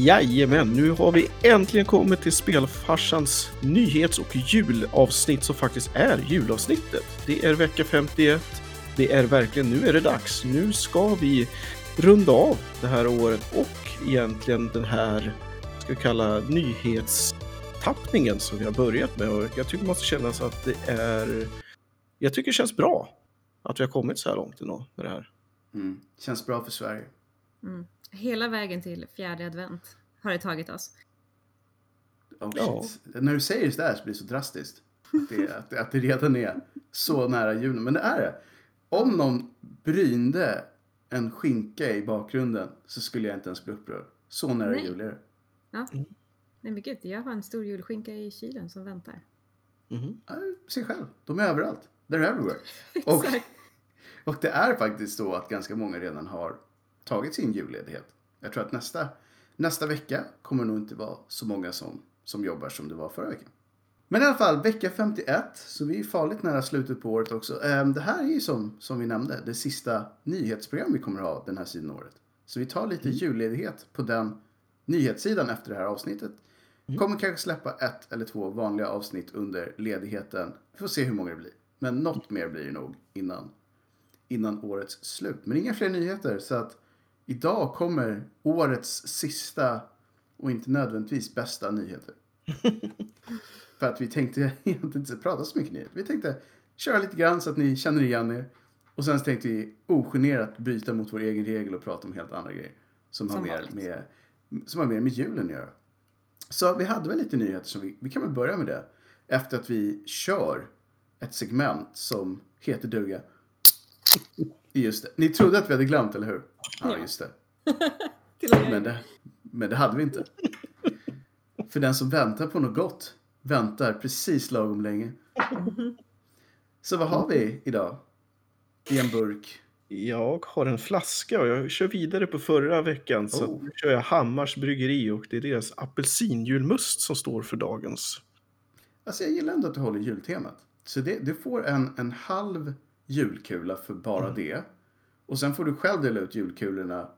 Jajamän, nu har vi äntligen kommit till Spelfarsans nyhets och julavsnitt som faktiskt är julavsnittet. Det är vecka 51. Det är verkligen, nu är det dags. Nu ska vi runda av det här året och egentligen den här, ska vi kalla nyhetstappningen som vi har börjat med. Och jag tycker man ska känna så att det är, jag tycker det känns bra att vi har kommit så här långt ändå med det här. Mm. Känns bra för Sverige. Mm. Hela vägen till fjärde advent har det tagit oss. Oh, shit. När du säger det där så blir det så drastiskt. Att det, att, det, att det redan är så nära julen. Men det är det. Om någon brynde en skinka i bakgrunden så skulle jag inte ens bli upprörd. Så nära Nej. jul är det. Ja. Nej men gud, jag har en stor julskinka i kylen som väntar. Mhm. Ja, Se själv, de är överallt. They're everywhere. Och, Exakt. och det är faktiskt så att ganska många redan har tagit sin julledighet. Jag tror att nästa, nästa vecka kommer nog inte vara så många som, som jobbar som det var förra veckan. Men i alla fall, vecka 51, så vi är farligt nära slutet på året också. Ehm, Det här är ju som, som vi nämnde, det sista nyhetsprogram vi kommer ha den här sidan av året. Så vi tar lite julledighet på den nyhetssidan efter det här avsnittet. Kommer kanske släppa ett eller två vanliga avsnitt under ledigheten. Vi får se hur många det blir. Men något mer blir det nog innan, innan årets slut. Men inga fler nyheter. Så att idag kommer årets sista och inte nödvändigtvis bästa nyheter. För att vi tänkte egentligen inte prata så mycket nyheter. Vi tänkte köra lite grann så att ni känner igen er. Och sen så tänkte vi ogenerat bryta mot vår egen regel och prata om helt andra grejer. Som, Som har, mer vanligt. med, som har mer med julen att göra. Så vi hade väl lite nyheter som vi, vi kan väl börja med det. Efter att vi kör ett segment som heter duga. Just det. Ni trodde att vi hade glömt, eller hur? Ja, Ja. just det. Till och med. Men det, men det hade vi inte. För den som väntar på något gott väntar precis lagom länge. Mm-hmm. Så vad har vi idag? I en burk. Jag har en flaska och jag kör vidare på förra veckan. Så Oh. att nu kör jag Hammars bryggeri och det är deras apelsinjulmust som står för dagens. Alltså jag gillar ändå att du håller jultemat. Så det, du får en, en halv julkula för bara det. Och sen får du själv dela ut julkulorna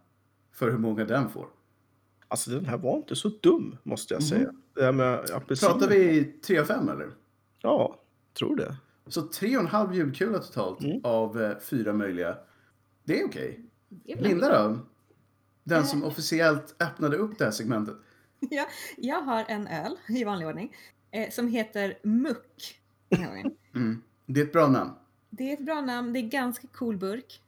för hur många den får. Alltså den här var inte så dum måste jag säga. Det här med apelsiner. Mm-hmm. Pratar vi 3 av 5 eller? Ja, tror det. Så tre och en halv julkula totalt av eh, fyra möjliga. Det är okej. Det är bra. Linda då? Den Eh. som officiellt öppnade upp det här segmentet. Ja, jag har en öl i vanlig ordning eh, som heter Muck. den här gången. Mm. Det är ett bra namn. Det är ett bra namn, det är ganska cool burk.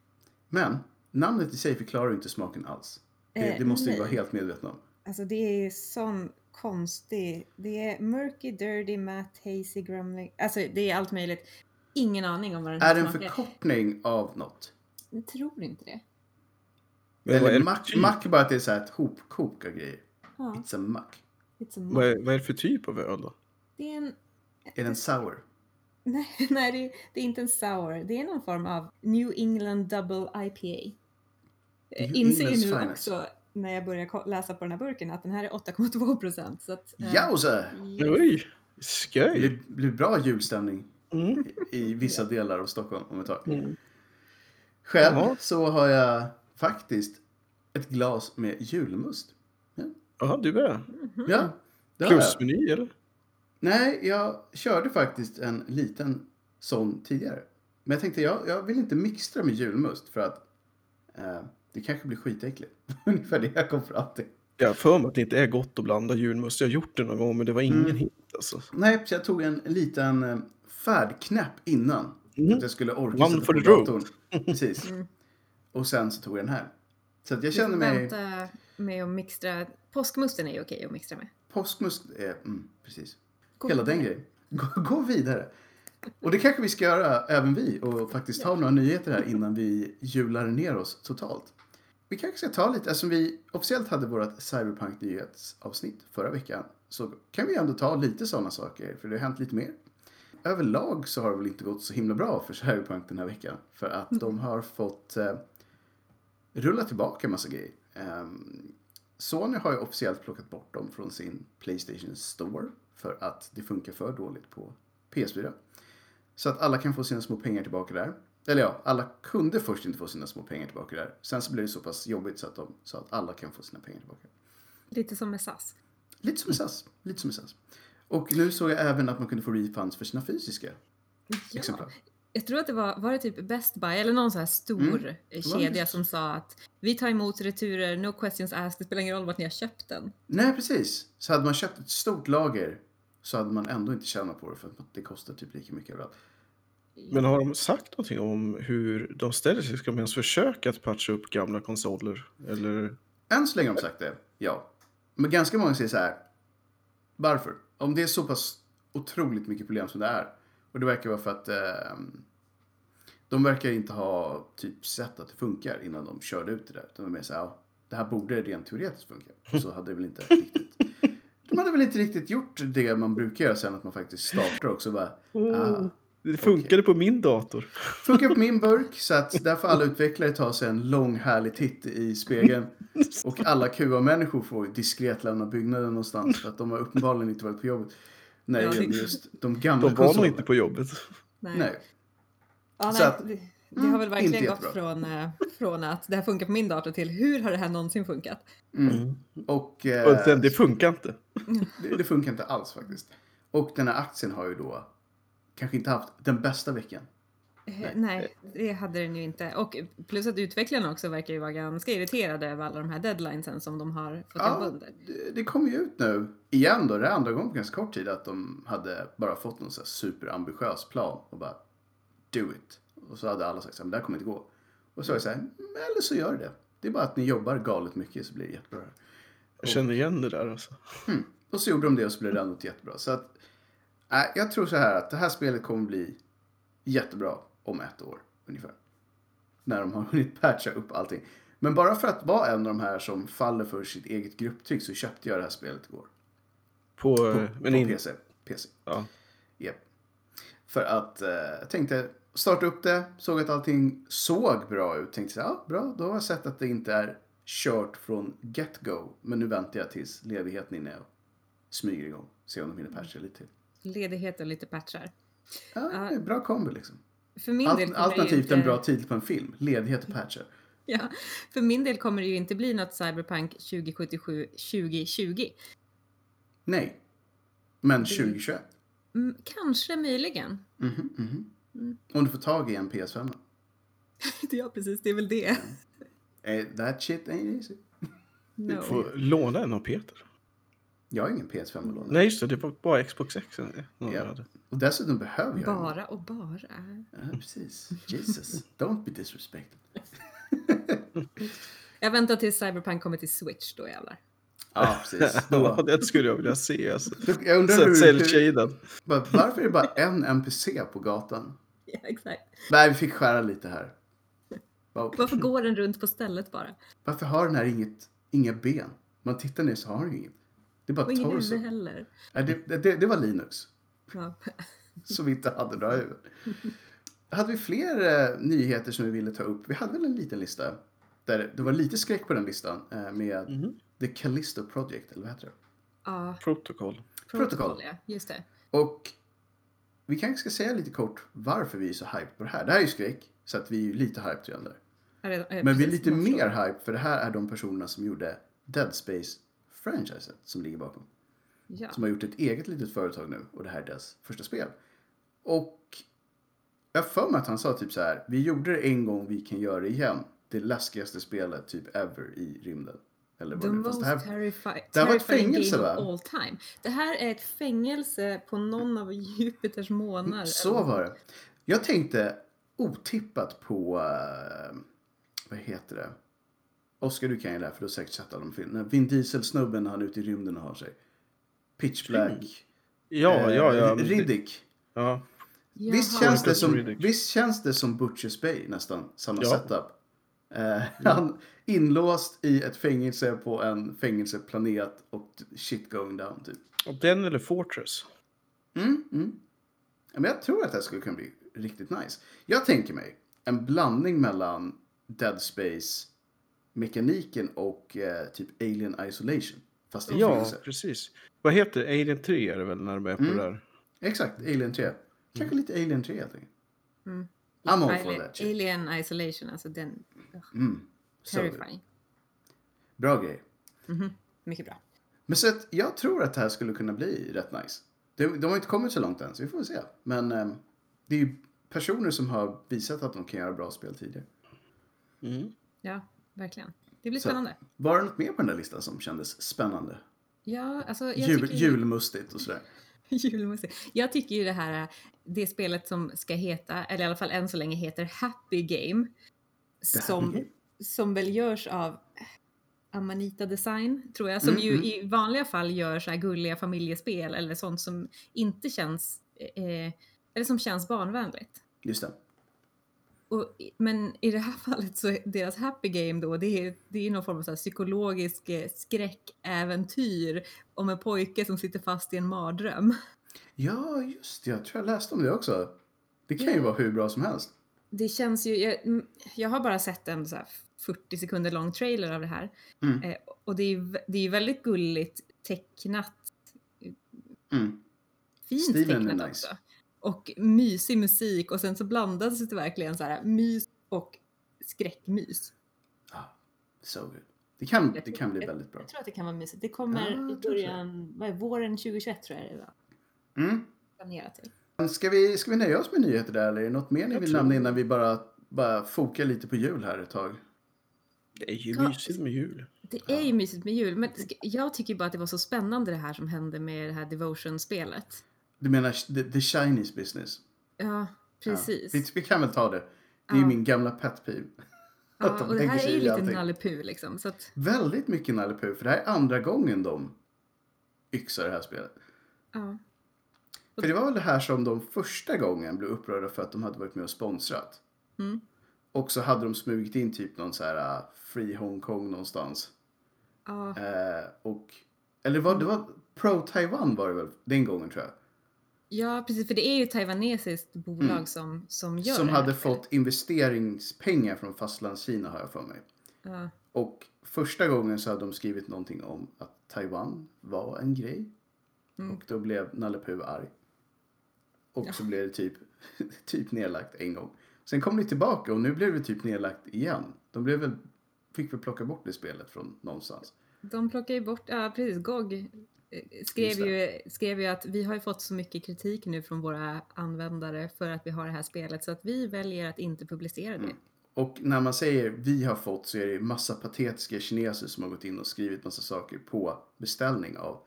Men namnet i sig förklarar ju inte smaken alls. Det, Eh, det måste vi nej. vara helt medvetna om. Alltså det är ju sån konstig. Det är murky, dirty, matte, hazy, grumbling. Alltså det är allt möjligt. Ingen aning om vad den Är här det en smakar. förkortning av något? Jag tror inte det. Men vad, är Eller det för mack, typ? mack är bara att det är så här ett hopkok av grejer. Ja, It's a mack. lite som vad, är, vad är det för typ av öl då? Det är en... Är den sour? Nej, nej det, är, det är inte en sour. Det är någon form av New England Double IPA. New Jag Eh, inser England's ju nu finest. också när jag börjar ko- läsa på den här burken att den här är 8,2 procent. Så att, eh, Jause! Oj, skoj! Det blir bra julstämning Mm. i- i vissa delar av Stockholm om ett tag. Mm. Själv Jaha. så har jag faktiskt ett glas med julmust. Jaha, du med? Ja, det har jag. Plusmeny eller? Nej, jag körde faktiskt en liten sån tidigare. Men jag tänkte, jag, jag vill inte mixtra med julmust för att eh, det kanske blir skitäckligt. Ungefär det jag kom fram till. Jag har för mig att det inte är gott att blanda julmust. Jag har gjort det någon gång men det var ingen Mm. hit alltså. Nej, så jag tog en liten eh, färdknäpp innan. För att jag skulle orka Mm. One sätta for på the road. datorn. Precis. Mm. Och sen så tog jag den här. Så att jag Du får känner mig... vänta med att mixtra. Påskmusten är ju okej att mixtra med. Påskmust är... Mm, precis. Gå Hela den vidare. grejen. Gå, gå vidare. Och det kanske vi ska göra, även vi, och faktiskt ta några nyheter här innan vi jular ner oss totalt. Vi kanske ska ta lite, eftersom vi officiellt hade vårt Cyberpunk-nyhetsavsnitt förra veckan, så kan vi ändå ta lite sådana saker, för det har hänt lite mer. Överlag så har det väl inte gått så himla bra för Cyberpunk den här veckan, för att Mm. de har fått eh, rulla tillbaka en massa grejer. Ehm, Sony har ju officiellt plockat bort dem från sin Playstation Store för att det funkar för dåligt på PS4. Så att alla kan få sina små pengar tillbaka där. Eller ja, alla kunde först inte få sina små pengar tillbaka där. Sen så blev det så pass jobbigt så att de sa att alla kan få sina pengar tillbaka. Lite som med SAS. Lite som i SAS. Lite som i SAS. Och nu såg jag även att man kunde få refunds för sina fysiska Ja. exemplar. Jag tror att det var, var det typ Best Buy eller någon sån här stor eh, Mm. var kedja just. som sa att vi tar emot returer, no questions asked, det spelar ingen roll vart ni har köpt den. Nej, precis. Så hade man köpt ett stort lager så hade man ändå inte tjänat på det för att det kostar typ lika mycket överallt. Men har de sagt någonting om hur de ställer sig? Ska de ens försöka att patcha upp gamla konsoler? Eller? Än så länge har de sagt det, ja. Men ganska många säger så här. Varför? Om det är så pass otroligt mycket problem som det är. Och det verkar vara för att eh, de verkar inte ha typ sett att det funkar innan de körde ut det där. Utan de är så här, ja, det här borde rent teoretiskt funka. Så hade det väl inte riktigt. De hade väl inte riktigt gjort det man brukar göra sen att man faktiskt startar också bara. Ah, Det funkade på min dator. funkar på min burk så att där får alla utvecklare ta sig en lång härlig titt i spegeln. Och alla QA-människor får diskret lämna byggnaden någonstans för att de har uppenbarligen inte varit på jobbet. När Ja, det det- gäller just de De gamla var nog konsolerna. inte på jobbet. Nej. Nej. Ja, Så nej att- det, det mm, har väl verkligen inte gått jättebra. från, eh, från att det här funkar på min dator till hur har det här någonsin funkat? Mm. Och eh, Och sen, det funkar inte. det, det funkar inte alls faktiskt. Och den här aktien har ju då kanske inte haft den bästa veckan. Eh, Nej, det hade den ju inte. Och plus att utvecklarna också verkar ju vara ganska irriterade över alla de här deadlinesen som de har fått jobba Ja, under. det, det kom ju ut nu igen då. Det är andra gången på ganska kort tid att de hade bara fått någon så här superambitiös plan och bara do it. Och så hade alla sagt så här, men det här kommer inte gå. Och så var jag så här, "Mm, eller så gör det. Det är bara att ni jobbar galet mycket så blir det jättebra. Jag känner igen det där alltså. Och så gjorde de det och så blev det ändå inte jättebra. Så att, äh, jag tror så här att det här spelet kommer bli jättebra om ett år ungefär. När de har hunnit patcha upp allting. Men bara för att vara en av de här som faller för sitt eget grupptryck så köpte jag det här spelet igår. På, eh, men på in, PC. PC. ja. Japp. För att eh, jag tänkte starta upp det, såg att allting såg bra ut. Tänkte så här, ja, bra, då har jag sett att det inte är kört från get-go. Men nu väntar jag tills ledigheten är inne och smyger igång. Se om de hinner patcha lite till. Ledighet och lite patchar. Ja, det är en bra kombo liksom. För min del Al- kommer det ju alternativt en inte- bra tid på en film. Ledighet och patcher. Ja, för min del kommer det ju inte bli något Cyberpunk 2077 2020. Nej. Men 2021. Mm, kanske möjligen. Mhm, mhm. Mm. Om du får tag i en PS5. Ja, precis, det är väl det. Mm. Eh, that shit ain't easy. No. Får låna en av Peter. Jag har ingen PS5 att låna. Nej just det, det var bara Xbox X. någon Ja. hade. Och dessutom behöver jag den. Bara och bara. Ja, precis. Jesus. Don't be disrespected. Jag väntar tills Cyberpunk kommer till Switch då jävlar. Ja, precis. Ja, Då, det skulle jag vilja se alltså. jag undrar Så att hur, hur, cell-shaded. bara, varför är det bara en NPC på gatan? Ja, exakt. Nej, vi fick skära lite här. Bara, Varför går den runt på stället bara? Varför har den här inget, inga ben? Man tittar ner så har den ju inget. Det är bara Och ingen torso. huvud heller. Nej, det, det- det, det var Linux, Ja. som vi inte hade några huvuden. Hade vi fler eh, nyheter som vi ville ta upp? Vi hade väl en liten lista. Där det var lite skräck på den listan eh, med The Callisto Project, eller vad heter det? ja Protocol. protokoll, ja. Just det. Och vi kanske ska säga lite kort varför vi är så hype på det här. Det här är ju skräck, så att vi är ju lite hype redan där. Ja, redan- eh, Men vi är precis, lite jag förstår. mer hype för det här är de personerna som gjorde Dead Space-franchiset som ligger bakom. Ja. Som har gjort ett eget litet företag nu och det här är deras första spel. Och jag har för mig att han sa typ så här, vi gjorde det en gång, vi kan göra det igen. Det läskigaste spelet typ ever i rymden. Eller The vad det nu fast most det här... terrifi- det här var ett terrifying fängelse, game of va? all time. Det här är ett fängelse på någon av Jupiters månar. Så var det. Jag tänkte otippat på, eh, vad heter det? Oskar du kan ju det här för du har säkert sett alla de filmerna. Vin Diesel-snubben när han är ute i rymden och har sig. Pitch Black. Ja, eh, ja, ja. men det- Riddick. Ja, Jaha. Visst känns, det som, Riddick. visst känns det som Butchers Bay nästan, samma Ja. setup. Eh, han inlåst i ett fängelse på en fängelseplanet och shit going down typ. och den eller Fortress. Mm, mm. Ja, Men jag tror att det här skulle kunna bli riktigt nice. Jag tänker mig en blandning mellan Dead Space mekaniken och eh, typ Alien Isolation. Fast i Ja, fängelse. precis. Vad heter det? Alien 3 är det väl när de är på det där? Exakt, Alien 3. Kanske lite Alien 3 helt enkelt. I'm all for Alien- that shit. Alien Isolation, alltså den... ugh, Mm. Så, terrifying. bra grej. mycket bra. Men så att jag tror att det här skulle kunna bli rätt nice. De, de har inte kommit så långt än, så vi får väl se. Men ehm, det är ju personer som har visat att de kan göra bra spel tidigare. Mm. Ja, verkligen. Det blir Så. spännande. Var det något mer på den där listan som kändes spännande? Ja, alltså jag Jul, tycker ju- julmustigt och sådär. Julmusik. Jag tycker ju det här, det spelet som ska heta, eller i alla fall än så länge heter Happy Game. Det här Som, är- som väl görs av Amanita Design, tror jag. Som Mm, ju mm. i vanliga fall gör så här gulliga familjespel eller sånt som inte känns, eh, eller som känns barnvänligt. Just det. Och, men i det här fallet så är deras happy game då, det är, det är någon form av så här psykologisk eh, skräckäventyr om en pojke som sitter fast i en mardröm. Ja, just det. Jag tror jag läste om det också. Det kan ju Ja. vara hur bra som helst. Det känns ju, jag, mm, jag har bara sett en så här 40 sekunder lång trailer av det här. Mm. Eh, och det är ju vä- det är ju väldigt gulligt tecknat, Mm. fint Stilen är tecknat nice. också. Och mysig musik och sen så blandas det verkligen så här mys och skräckmys. Ah, so good. Det kan, det kan bli väldigt bra. Jag tror att det kan vara mysigt. Det Ja, jag kommer tror i så. början, vad är, våren 2021 tror jag det var Mm. planerat till. Ska vi, ska vi nöja oss med nyheter där eller är det något mer ni Jag vill tror- nämna innan vi bara, bara fokar lite på jul här ett tag? Det är ju Ja. mysigt med jul. Det är ju mysigt med jul, men sk- jag tycker bara att det var så spännande det här som hände med det här Devotion-spelet. Du menar the, the Chinese business? Ja, Ja. precis. Vi, vi kan väl ta det. Det är ju Ja. min gamla pet peeve. Att Ja, de och det tänker här sig är ju i lite allting. Nalle Puh liksom. Så att, Väldigt mycket Nalle Puh, för det här är andra gången de yxar det här spelet. ja. För det var väl det här som de första gången blev upprörda för att de hade varit med och sponsrat. Mm. Och så hade de smugit in typ någon så här uh, Free Hong Kong någonstans. Ja, Eh, och, eller var det var Pro Taiwan var det väl den gången tror jag. ja, precis. För det är ju ett taiwanesiskt bolag Mm. som, som gör som det här hade spelet. fått investeringspengar från fastlandskina har jag för mig. Ja, Och första gången så hade de skrivit någonting om att Taiwan var en grej. Mm. Och då blev Nalle Puh arg. Och så blev det typ, typ nedlagt en gång. Sen kom det tillbaka och nu blev det typ nedlagt igen. De blev väl, fick väl plocka bort det spelet från någonstans. de plockar ju bort, ja precis, GOG eh, skrev Just ju, skrev ju att vi har ju fått så mycket kritik nu från våra användare för att vi har det här spelet så att vi väljer att inte publicera Mm. det. Och när man säger vi har fått så är det massa patetiska kineser som har gått in och skrivit massa saker på beställning av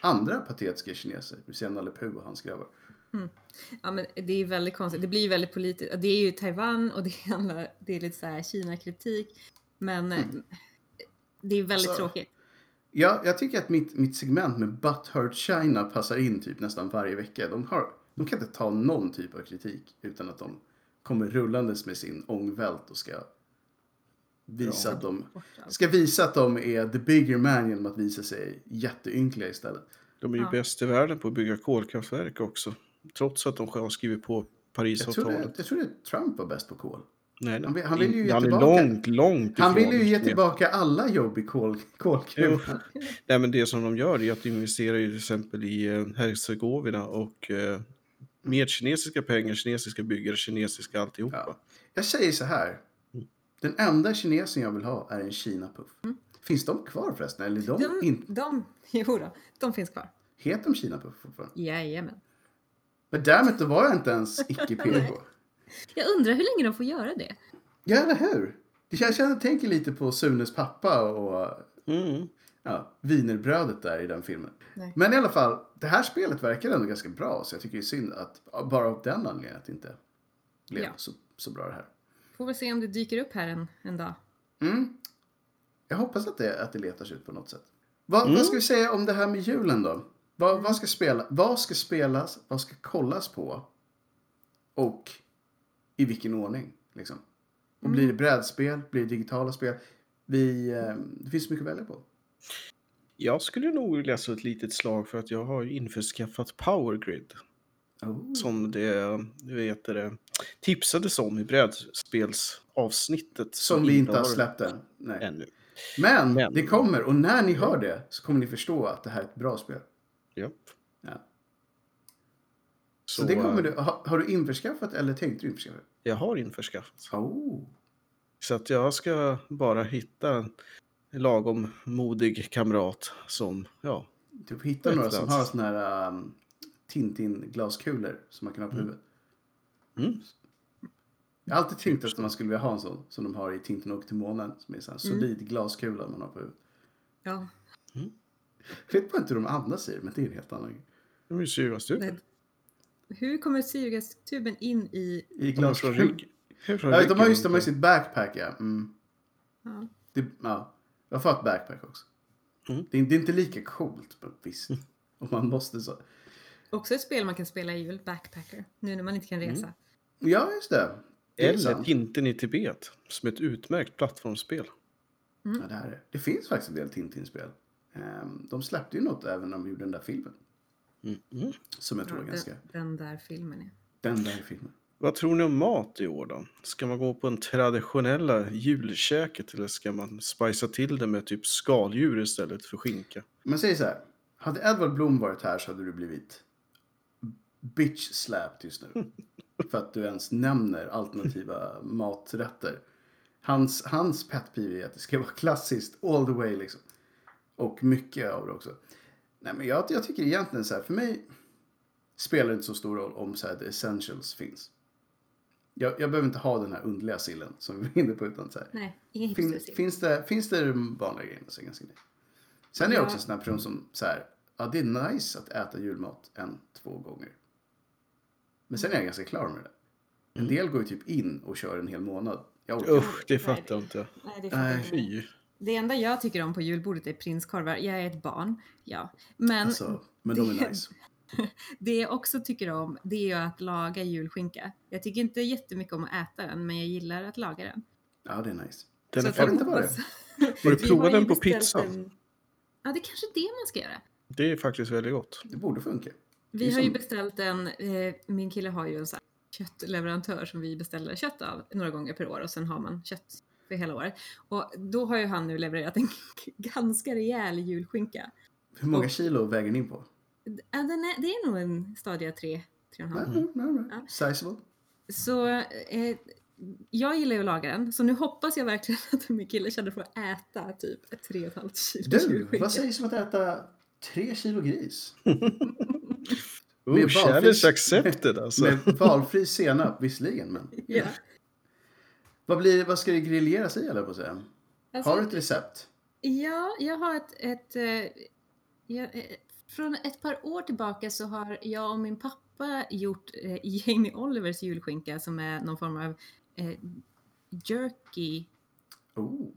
andra patetiska kineser. Vi ser Nalle Puh och hans grabbar. Ja, men det är väldigt konstigt. Det blir ju väldigt politiskt. Det är ju Taiwan och det handlar, det är lite så här Kina-kritik. Men eh, Mm. det är väldigt Alltså, tråkigt. Ja, jag tycker att mitt, mitt segment med Butthurt China passar in typ nästan varje vecka. De, har, de kan inte ta någon typ av kritik utan att de kommer rullandes med sin ångvält och ska visa, Ja. att de, Bort allt. ska visa att de är the bigger man genom att visa sig jätteynkliga istället. De är ju Ja. bäst i världen på att bygga kolkraftverk också. Trots att de själva har skrivit på Jag trodde, Parisavtalet. jag trodde Trump var bäst på kol. Nej, nej. Han vill- han vill ju ge han är tillbaka- långt, långt Han ifrån vill ju ge det. tillbaka alla jobb i kol, Jo. kolgruvan. Nej, men det som de gör är att de investerar ju till exempel i eh, Hercegovina och eh, med kinesiska pengar, kinesiska byggare, kinesiska alltihopa. Ja. Jag säger så här. Den enda kinesen jag vill ha är en Kina-puff. Mm. Finns de kvar förresten? Eller är de, De, inte? de, jo då, de finns kvar. Heter de Kina-puff fortfarande? Jajamän. Men därmed då var jag inte ens icke-PK. Jag undrar hur länge de får göra det. ja, eller hur? Det känns, jag tänker lite på Sunes pappa och Mm. ja, vinerbrödet där i den filmen. Nej. Men i alla fall, det här spelet verkar ändå ganska bra. Så jag tycker det är synd att bara av den anledningen att det inte blev Ja. så, så bra det här. Får väl se om det dyker upp här en, en dag. Mm. Jag hoppas att det, att det letas ut på något sätt. Vad, vad ska vi säga om det här med julen då? Vad, vad, ska spela, vad ska spelas, vad ska kollas på och i vilken ordning? Liksom? Och blir det brädspel, blir det digitala spel? Vi, eh, det finns mycket att välja på. Jag skulle nog vilja slå ett litet slag för att jag har ju införskaffat Power Grid. Som det du vet, det, tipsades om i brädspelsavsnittet. Som vi inte har har släppt än. Nej. ännu. Men, Men- det kommer och när ni hör det så kommer ni förstå att det här är ett bra spel. Ja. Ja. Så, Så, det kommer eh, du, har, har du införskaffat eller tänkte du införskaffa? Jag har införskaffat. Oh. Så att jag ska bara hitta lagom modig kamrat som, ja, Typ hitta några som Någonstans. har såna här um, Tintin-glaskulor som man kan ha på huvudet. Mm. Jag har alltid tänkt att man skulle vilja ha en sån som de har i Tintin och till månen. Som är en sån här Mm. solid glaskula man har på huvudet. Ja, Jag vet bara inte hur de andas i det, men det är en helt annan grej. de är ju syrgastuber. nej. Hur kommer syrgastuben in i... I De har från glaskulor. rygg. Hur från Jag vet, de har ryggen just, de har någonting. just sitt backpack ja. Mm. Ja. Det, ja. Jag får ha ett backpack också. Mm. Det, är, det är inte lika coolt, men visst. Om man måste så. Också ett spel man kan spela i jul, Backpacker, nu när man inte kan resa. Ja, just det. Det är Eller sant. Tintin i Tibet, som är ett utmärkt plattformsspel. Ja, det, här är. det finns faktiskt en del Tintin-spel. Ehm, de släppte ju något även när de gjorde den där filmen. Mm. Mm. Som jag tror är Ja, ganska... den, den där filmen. Ja. Den där filmen. Vad tror ni om mat i år då? Ska man gå på den traditionella julkäket eller ska man spicea till det med typ skaldjur istället för skinka? Men säg så här. Hade Edvard Blom varit här så hade du blivit bitch slapped just nu. För att du ens nämner alternativa maträtter. Hans, hans pet peeve är att det ska vara klassiskt all the way liksom. Och mycket av det också. Nej men jag, jag tycker egentligen så här, för mig spelar det inte så stor roll om så här, the essentials finns. Jag, jag behöver inte ha den här underliga sillen som vi var inne på utan så här. Nej, ingen Fin, hipstersill. finns, det, finns det de vanliga grejerna så är jag ganska nöjd. Sen är jag också Ja. en sån här person som så här, ja det är nice att äta julmat en, två gånger. Men sen är jag ganska klar med det. En del går ju typ in och kör en hel månad. Jag orkar inte. Usch, det fattar jag inte. Nej, det Nej. fattar inte jag. Fy. Det enda jag tycker om på julbordet är prinskorvar. Jag är ett barn, ja. Men alltså, men de är det- nice. det jag också tycker om, det är ju att laga julskinka. Jag tycker inte jättemycket om att äta den, men jag gillar att laga den. Ja, det är nice. Den är att jag det fan... inte bara det? hoppas- Har du Alltså, Vi provat ju den på beställt pizza? en- Ja, det är kanske det man ska göra. Det är faktiskt väldigt gott. Det borde funka. Det Vi är har ju som- beställt en, eh, min kille har ju en sån här köttleverantör som vi beställer kött av några gånger per år och sen har man kött för hela året. Och då har ju han nu levererat en ganska rejäl julskinka. Hur många kilo väger ni in på? Ja, den är, det är nog en stadie 3, 3,5. Mm. Mm. Ja. Sizable. Så eh, jag gillar ju att laga den, så nu hoppas jag verkligen att min kille känner för att äta typ 3,5 kilo Du, julskinka. vad sägs om att äta tre kilo gris? Oh, valfri- challenge accepted alltså. Med valfri senap visserligen, men Ja. Vad, blir, vad ska det grilleras i eller på att säga? Alltså- Har du ett recept? Ja, jag har ett... ett eh, jag, eh, från ett par år tillbaka så har jag och min pappa gjort eh, Jamie Olivers julskinka som är någon form av eh, jerky, Oh.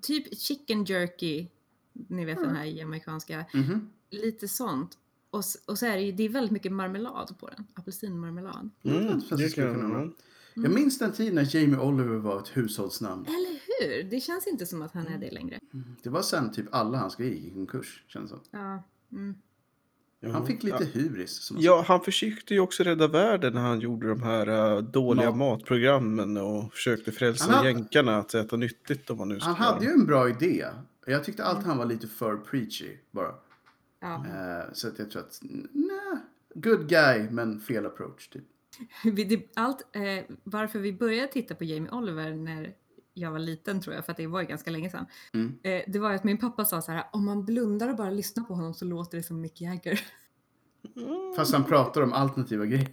typ chicken jerky, ni vet Mm. den här jamaicanska, Mhm. lite sånt. Och, s- och så är det ju, det är väldigt mycket marmelad på den, apelsinmarmelad. Mm. Mm, Så att det det skulle kan kunna vara. man. Jag minns den tiden när Jamie Oliver var ett hushållsnamn. Eller hur? Det känns inte som att han Mm. är det längre. Det var sen typ alla hans grejer gick i konkurs, känns det som. Ja, mm. Han fick lite hybris. Som man Ja, han försökte ju också rädda världen när han gjorde de här äh, dåliga Mat. matprogrammen och försökte frälsa Han hade- jänkarna att äta nyttigt om man nu ska han hade ju en bra idé. Jag tyckte Mm. alltid han var lite för preachy bara. ja. Eh, så att jag tror att, nej, good guy men fel approach typ. Vi, det, allt, eh, varför vi började titta på Jamie Oliver när jag var liten tror jag, för att det var ju ganska länge sedan. Mm. Eh, det var ju att min pappa sa så här, om man blundar och bara lyssnar på honom så låter det som Mick Jagger. Mm. Fast han pratar om alternativa grejer.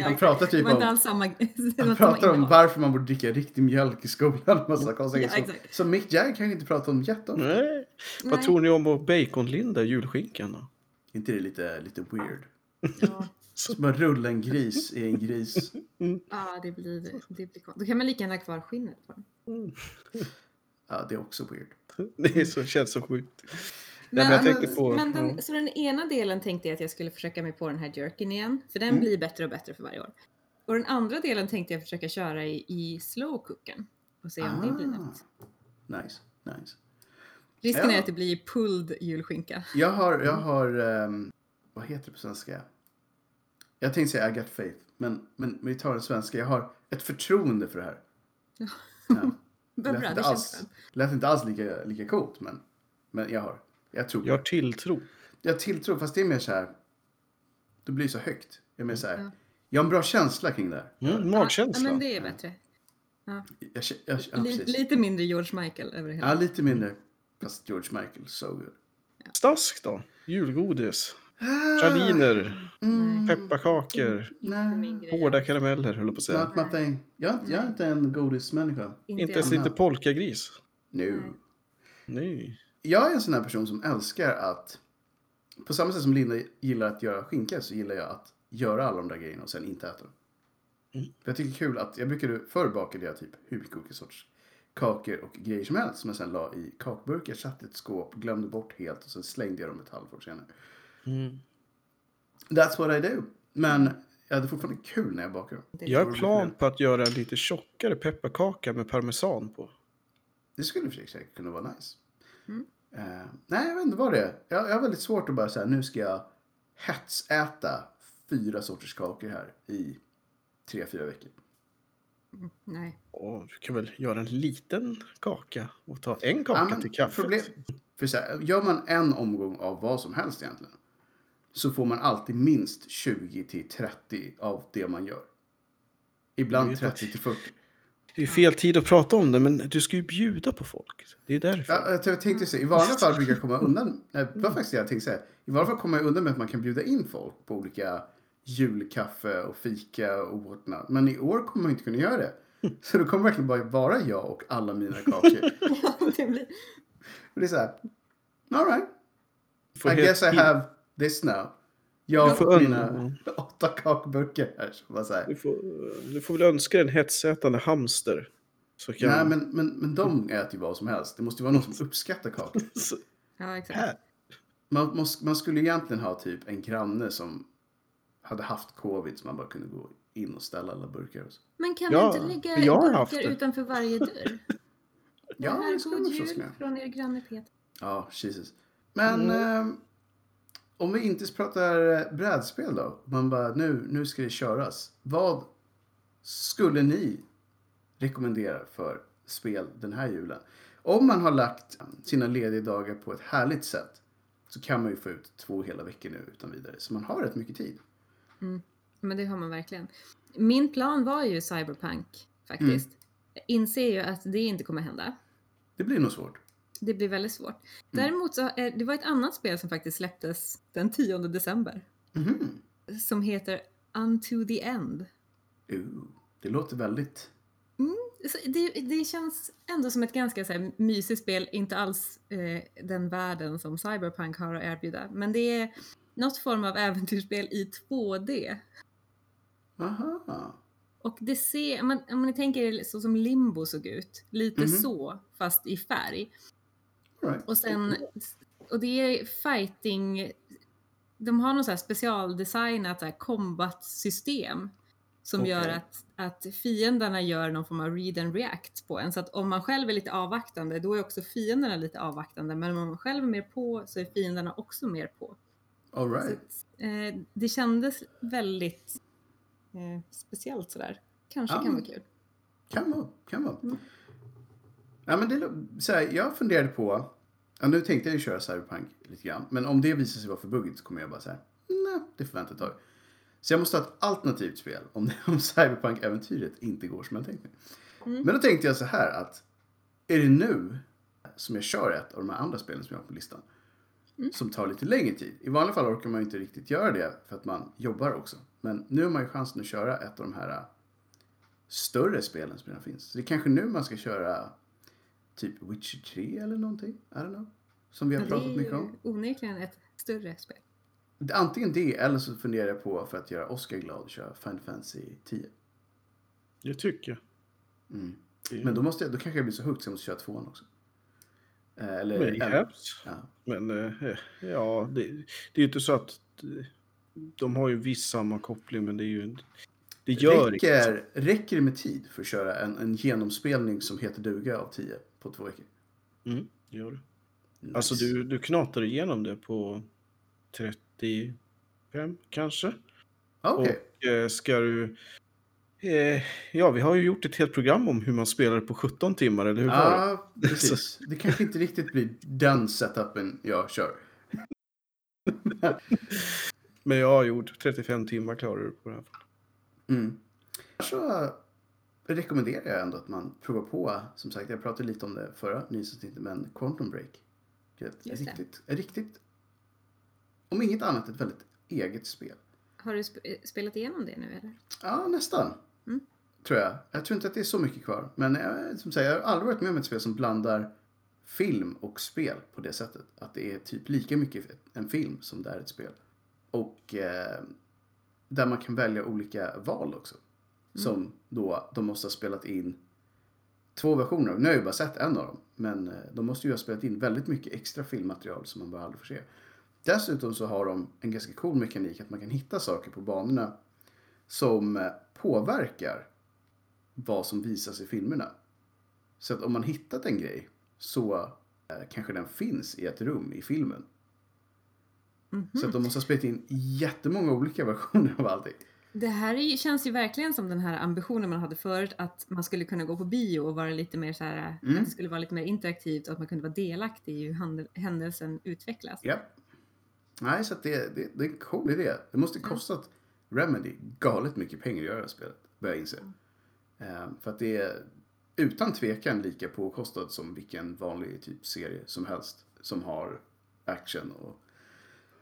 Han pratar det typ var inte om, alls samma... det var han inte pratar samma om innehåll. varför man borde dricka riktig mjölk i skolan. och Massa konstiga grejer. Ja, som- exakt. Mm. Som Mick Jagger kanske inte pratar om jätteofta. Nej. Vad Nej. tror ni om att baconlinda i julskinkan då? inte det lite, lite weird? Ja, Som att rulla en gris i en gris. ja, Ah, det blir... Det blir kon- Då kan man lika gärna ha kvar skinnet på den. Ja, det är också weird. Det är så, känns så sjukt. Men, Men, jag men- tänkte på... men den, ja. Så den ena delen tänkte jag att jag skulle försöka mig på den här jerkin igen, för den blir bättre och bättre för varje år. Och den andra delen tänkte jag försöka köra i, i slowcooken och se om det blir något. Ah, nice, nice. Risken Ja. är att det blir pulled julskinka. Jag har, Mm. jag har, ehm, vad heter det på svenska? Jag tänkte säga I got faith, men, men vi tar den svenska. Jag har ett förtroende för det här. Ja. Vad bra, inte det känns alls, skönt. lät inte alls lika, lika coolt, men, men jag har. Jag tror. Jag har tilltro. Jag tilltror, fast det är mer så här. Det blir så högt. Jag menar så här. Jag har en bra känsla kring det här. Mm, Ja, magkänsla. men det är bättre. Ja. Jag, kä- jag, ja, Li- precis. lite mindre George Michael över det hela. Ja, lite mindre. Fast George Michael, so good. Stask då? Julgodis? Ah, Praliner? Mm, Pepparkakor? Inte nej. min grej. Hårda karameller höll jag på att säga. Not my thing. Jag, är- jag är inte en godismänniska. Inte jag. ens lite polkagris? Nu. Nej. Nej. Jag är en sån här person som älskar att... På samma sätt som Linda gillar att göra skinka så gillar jag att göra alla de där grejerna och sen inte äta dem. Mm. Jag tycker det är kul att... Jag brukade, förr bakade jag typ hur mycket olika sorts kakor och grejer som helst som jag sen la i kakburkar, satte i ett skåp, glömde bort helt och sen slängde jag dem ett halvår senare. Mm. That's what I do. Men jag hade fortfarande kul när jag bakade dem. Jag är plan på att göra en lite tjockare pepparkaka med parmesan på. Det skulle i och för sig säkert kunna vara nice. Mm. Eh, nej, jag vet inte vad det är. Jag, jag har väldigt svårt att bara säga nu ska jag hetsäta fyra sorters kakor här i tre, fyra veckor. Mm, Nej. Åh, du kan väl göra en liten kaka och ta en kaka Ja, men till kaffet? för så här, gör man en omgång av vad som helst egentligen så får man alltid minst 20 till 30 av det man gör. Jag Ibland vet att- 30 till 40. Det är fel tid att prata om det, men du ska ju bjuda på folk. Det är därför. Ja, jag jag tänkte så, I vanliga fall brukar jag komma undan. nej, Det var faktiskt det jag tänkte säga. I vanliga fall kommer jag undan med att man kan bjuda in folk på olika julkaffe och fika och whatnot. Men i år kommer man inte kunna göra det. Så det kommer verkligen bara vara jag och alla mina kakor. det blir... Och det är så här. All right. Du får I helt guess I in- have this now. Du Jag får och undan. mina åtta kakburkar här. Så bara så här. du, får, du får väl önska dig en hetsätande hamster. Så kan Nej, men, men, men de äter ju vad som helst. Det måste ju vara någon som uppskattar kakor. Så- Ja, exakt. här. Man, måste, man skulle ju egentligen ha typ en granne som hade haft covid så man bara kunde gå in och ställa alla burkar och så. Men kan Ja, du inte lägga jag har haft burkar det. utanför varje dörr? Ja, här, det skulle god man förstås jul kunna. från er granne Peter. Ja, Jesus. Men ehm, om vi inte pratar eh, brädspel då. Man bara, nu, nu ska det köras. Vad skulle ni rekommendera för spel den här julen? Om man har lagt sina lediga dagar på ett härligt sätt så kan man ju få ut två hela veckor nu utan vidare. Så man har rätt mycket tid. Men det har man verkligen. Min plan var ju cyberpunk faktiskt. Mm. Jag inser ju att det inte kommer hända. Det blir nog svårt. Det blir väldigt Mm. svårt. Däremot så eh, det var ett annat spel som faktiskt släpptes den 10 december. Mhm. Som heter Unto the End. Ooh, det låter väldigt... Så det, det känns ändå som ett ganska så här, mysigt spel, inte alls eh, den världen som Cyberpunk har att erbjuda. Men det är något form av äventyrsspel i 2D. Aha. Och det ser, om man, om ni tänker er så som Limbo såg ut, lite Mhm. så fast i färg. All right. Och sen, och det är fighting, de har något så här specialdesignat så här combat-system som Okej. gör att, att fienderna gör någon form av read and react på en. Så att om man själv är lite avvaktande, då är också fienderna lite avvaktande. Men om man själv är mer på så är fienderna också mer på. All Så right. att, eh, det kändes väldigt eh, speciellt sådär. Kanske Ja, kan men- vara kul. Kan vara. Kan vara. Mm. Ja, men det, lå- så här, jag funderade på... Ja, nu tänkte jag ju köra Cyberpunk lite grann. Men om det visar sig vara för buggigt så kommer jag bara så här... Nej, det får vänta ett tag. Så jag måste ha ett alternativt spel om, om Cyberpunk-äventyret inte går som jag tänkt mig. Mm. Men då tänkte jag så här att... Är det nu som jag kör ett av de här andra spelen som jag har på listan? Mm. Som tar lite längre tid. I vanliga fall orkar man ju inte riktigt göra det för att man jobbar också. Men nu har man ju chansen att köra ett av de här äh, större spelen som redan finns. Så det är kanske nu man ska köra typ Witcher 3 eller någonting. I don't know. Som vi har Men Det är pratat mycket ju om. onekligen ett större spel. Antingen det eller så funderar jag på för att göra Oscar glad och köra Final Fantasy 10. Det tycker jag. Mm. Det- Men då, måste jag, då kanske jag blir så hooked så jag måste köra tvåan också. Eh, Eller, Men, eller perhaps. ja. men eh, ja, det, det är ju inte så att eh, de har ju viss sammankoppling, men det är ju... Det gör inte. räcker, räcker det med tid för att köra en, en genomspelning som heter duga av 10 på två veckor? Mm, det gör det. Nice. Alltså du, du knatar igenom det på 35 kanske. Ah, Okej. Och eh, ska du... Eh, ja, vi har ju gjort ett helt program om hur man spelar på 17 timmar, eller hur var det? Ja, precis. Det kanske inte riktigt blir den setupen jag kör. Men jag har gjort 35 timmar klarar du på det här. Mm. Så rekommenderar jag ändå att man provar på, som sagt, jag pratade lite om det förra nyhetsavsnittet, men Quantum Break. Det är ett Just det. riktigt, ett riktigt, om inget annat, ett väldigt eget spel. Har du sp- eh, spelat igenom det nu eller? Ja, nästan. Mm. Tror jag. Jag tror inte att det är så mycket kvar. Men jag, som sagt, jag har aldrig varit med om ett spel som blandar film och spel på det sättet. Att det är typ lika mycket en film som det är ett spel. Och eh, där man kan välja olika val också. Som då, de måste ha spelat in två versioner av. Nu har jag ju bara sett en av dem. Men eh, de måste ju ha spelat in väldigt mycket extra filmmaterial som man bara aldrig får se. Dessutom så har de en ganska cool mekanik att man kan hitta saker på banorna som eh, påverkar vad som visas i filmerna. Så att om man hittat en grej så eh, kanske den finns i ett rum i filmen. Mhm. Så att de måste ha spelat in jättemånga olika versioner av allting. Det här är, ju- känns ju verkligen som den här ambitionen man hade förut att man skulle kunna gå på bio och vara lite mer så här, Mm. att det skulle vara lite mer interaktivt och att man kunde vara delaktig i hur handel, händelsen utvecklas. Ja. Nej, så att det, det, det är en cool idé. Det måste kostat Remedy galet mycket pengar att göra det här spelet, börjar jag inse. Eh, för att det är utan tvekan lika påkostat som vilken vanlig typ serie som helst som har action och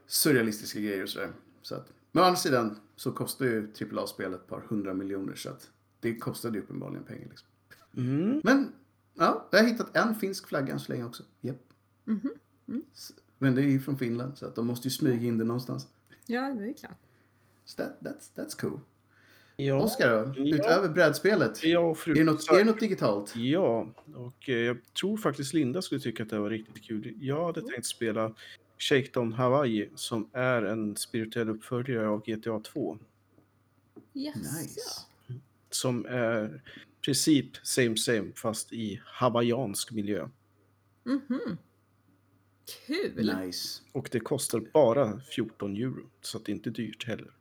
surrealistiska grejer och sådär. Så att, men å andra sidan så kostar ju AAA-spel ett par hundra miljoner så att det kostade ju uppenbarligen pengar. Liksom. Mm. Men ja, jag har hittat en finsk flagga än så länge också. Japp. Mhm. S- Men det är ju från Finland så att de måste ju smyga in det någonstans. Ja, det är klart. Så that, that's, that's cool. Ja, Oskar då? Ja. Utöver brädspelet? jag fru- Är det, något, är det något digitalt? Ja, och eh, jag tror faktiskt Linda skulle tycka att det här var riktigt kul. Jag hade tänkt spela Shakedown Hawaii som är en spirituell uppföljare av GTA 2. Yes. Nice. Som är i princip same same fast i hawaiiansk miljö. Mhm. Kul! Nice. Och det kostar bara 14 euro så att det är inte dyrt heller.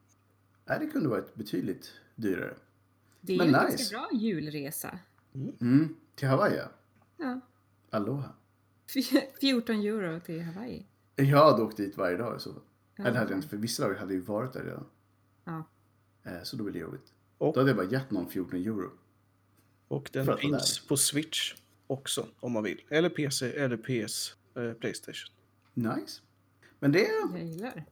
Nej, det kunde varit betydligt dyrare. Det är Men en nice. ganska bra julresa. Mm. Till Hawaii? ja. Ja. Aloha. 14 euro till Hawaii. Jag hade åkt dit varje dag i så fall. Ja. Eller hade jag inte, för vissa dagar hade jag ju varit där redan. Ja. Eh, Så då blir det jobbigt. Och- Då hade jag bara gett någon 14 euro. Och den Prata finns på Switch också om man vill. Eller PC eller PS, eh, Playstation. Nice. Men det Jag gillar.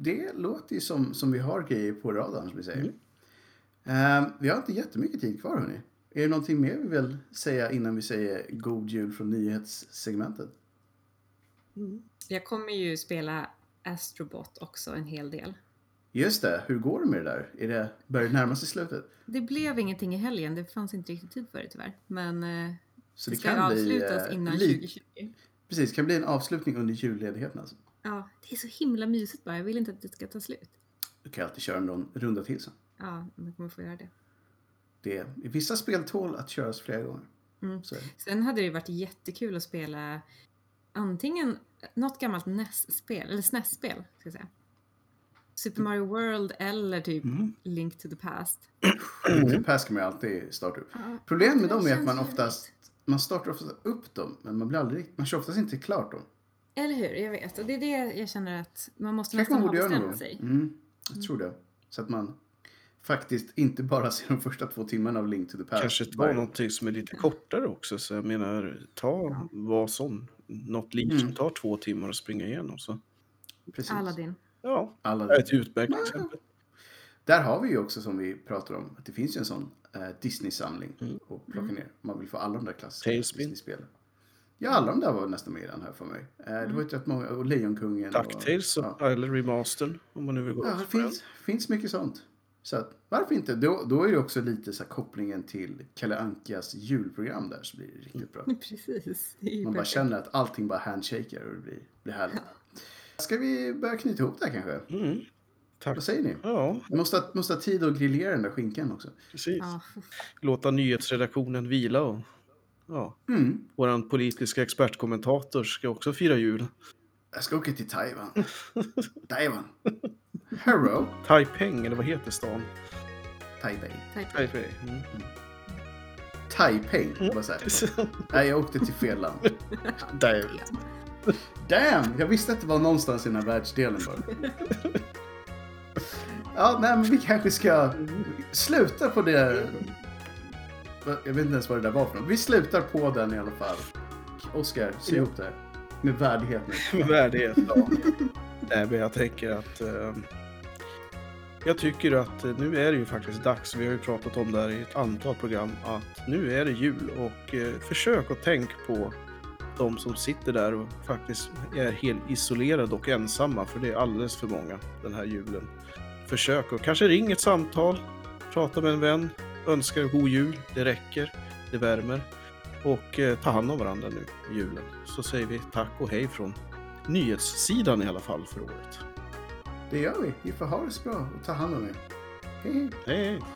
Det låter ju som, som vi har grejer på radarn som vi säger. Mm. Ehm, vi har inte jättemycket tid kvar hörni. Är det någonting mer vi vill säga innan vi säger god jul från nyhetssegmentet? Jag kommer ju spela Astrobot också en hel del. Just det, hur går det med det där? Är det, börjar det närma sig slutet? Det blev ingenting i helgen, det fanns inte riktigt tid för det tyvärr. Men eh, Så det ska avslutas eh, innan lik- 2020. Precis, det kan bli en avslutning under julledigheten alltså. Ja, det är så himla mysigt bara, jag vill inte att det ska ta slut. Du kan alltid köra någon runda till sen. Ja, man kommer få göra det. Det är, vissa spel tål att köras flera gånger. Mm. Så är det. Sen hade det ju varit jättekul att spela antingen något gammalt NES-spel, eller SNES-spel ska jag säga. Super Mario World eller typ Link to the Past. Mm. Pass kan man ju alltid starta upp. Ja, Problemet med det dem är att känns man ju oftast, man startar oftast upp dem, men man blir aldrig, man kör oftast inte klart dem. Eller hur, jag vet. Och det är det jag känner att man måste kanske nästan man ha borde göra någon gång. bestämt sig. Mm, jag tror det. Så att man faktiskt inte bara ser de första två timmarna av Link to the Past. Kanske ta Bara- någonting som är lite kortare också. Så jag menar, ta Ja. vad som. Något liv Mm. som tar två timmar att springa igenom. Så. Precis. Aladdin. Ja, Aladdin. ett utmärkt Ja. exempel. Där har vi ju också som vi pratar om, att det finns ju en sån eh, Disney-samling Mm. att plocka ner. Om man vill få alla de där klassiska Tailspin. Disney-spelen. Ja, alla de där var nästan med i den här för mig. Eh, det Mm. var ju rätt många, och Lejonkungen. DuckTales och, och, ja. eller remastern om man nu vill gå Ja, upp det på den. finns, finns mycket sånt. Så att, varför inte? Då, då är det också lite så här kopplingen till Kalle Ankas julprogram där så blir det riktigt bra. Precis. Det är ju Man bara perfekt. känner att allting bara handshaker och det blir, blir härligt. Ska vi börja knyta ihop det här kanske? Mm. Tack. Vad säger ni? Ja, Vi måste, ha- måste ha tid att grillera den där skinkan också. precis. Ja, Låta nyhetsredaktionen vila och ja. Mm. Vår politiska expertkommentator ska också fira jul. Jag ska åka till Taiwan. Taiwan. Hello, Taipeng, eller vad heter stan? Taipei. tack. Taipei. Mm. Taipei. Bara så här. Mm. Nej, jag åkte till fel land. Där. Damn! Jag visste att det var någonstans i den här världsdelen bara. Ja, nej, men vi kanske ska sluta på det Va- Jag vet inte ens vad det där var för något. Vi slutar på den i alla fall. Oskar, sy Ja. ihop det här. Med värdighet nu. värdighet. Ja. Nej, men jag tänker att... Eh, jag tycker att eh, nu är det ju faktiskt dags, vi har ju pratat om det här i ett antal program, att nu är det jul och eh, försök att tänk på de som sitter där och faktiskt är helt isolerade och ensamma, för det är alldeles för många den här julen. Försök och kanske ring ett samtal, prata med en vän, önska god jul, det räcker, det värmer. Och eh, ta hand om varandra nu i julen. Så säger vi tack och hej från nyhetssidan i alla fall för året. Det gör vi. Ni får ha det så bra och ta hand om er. Hej, hej. Hej! hej.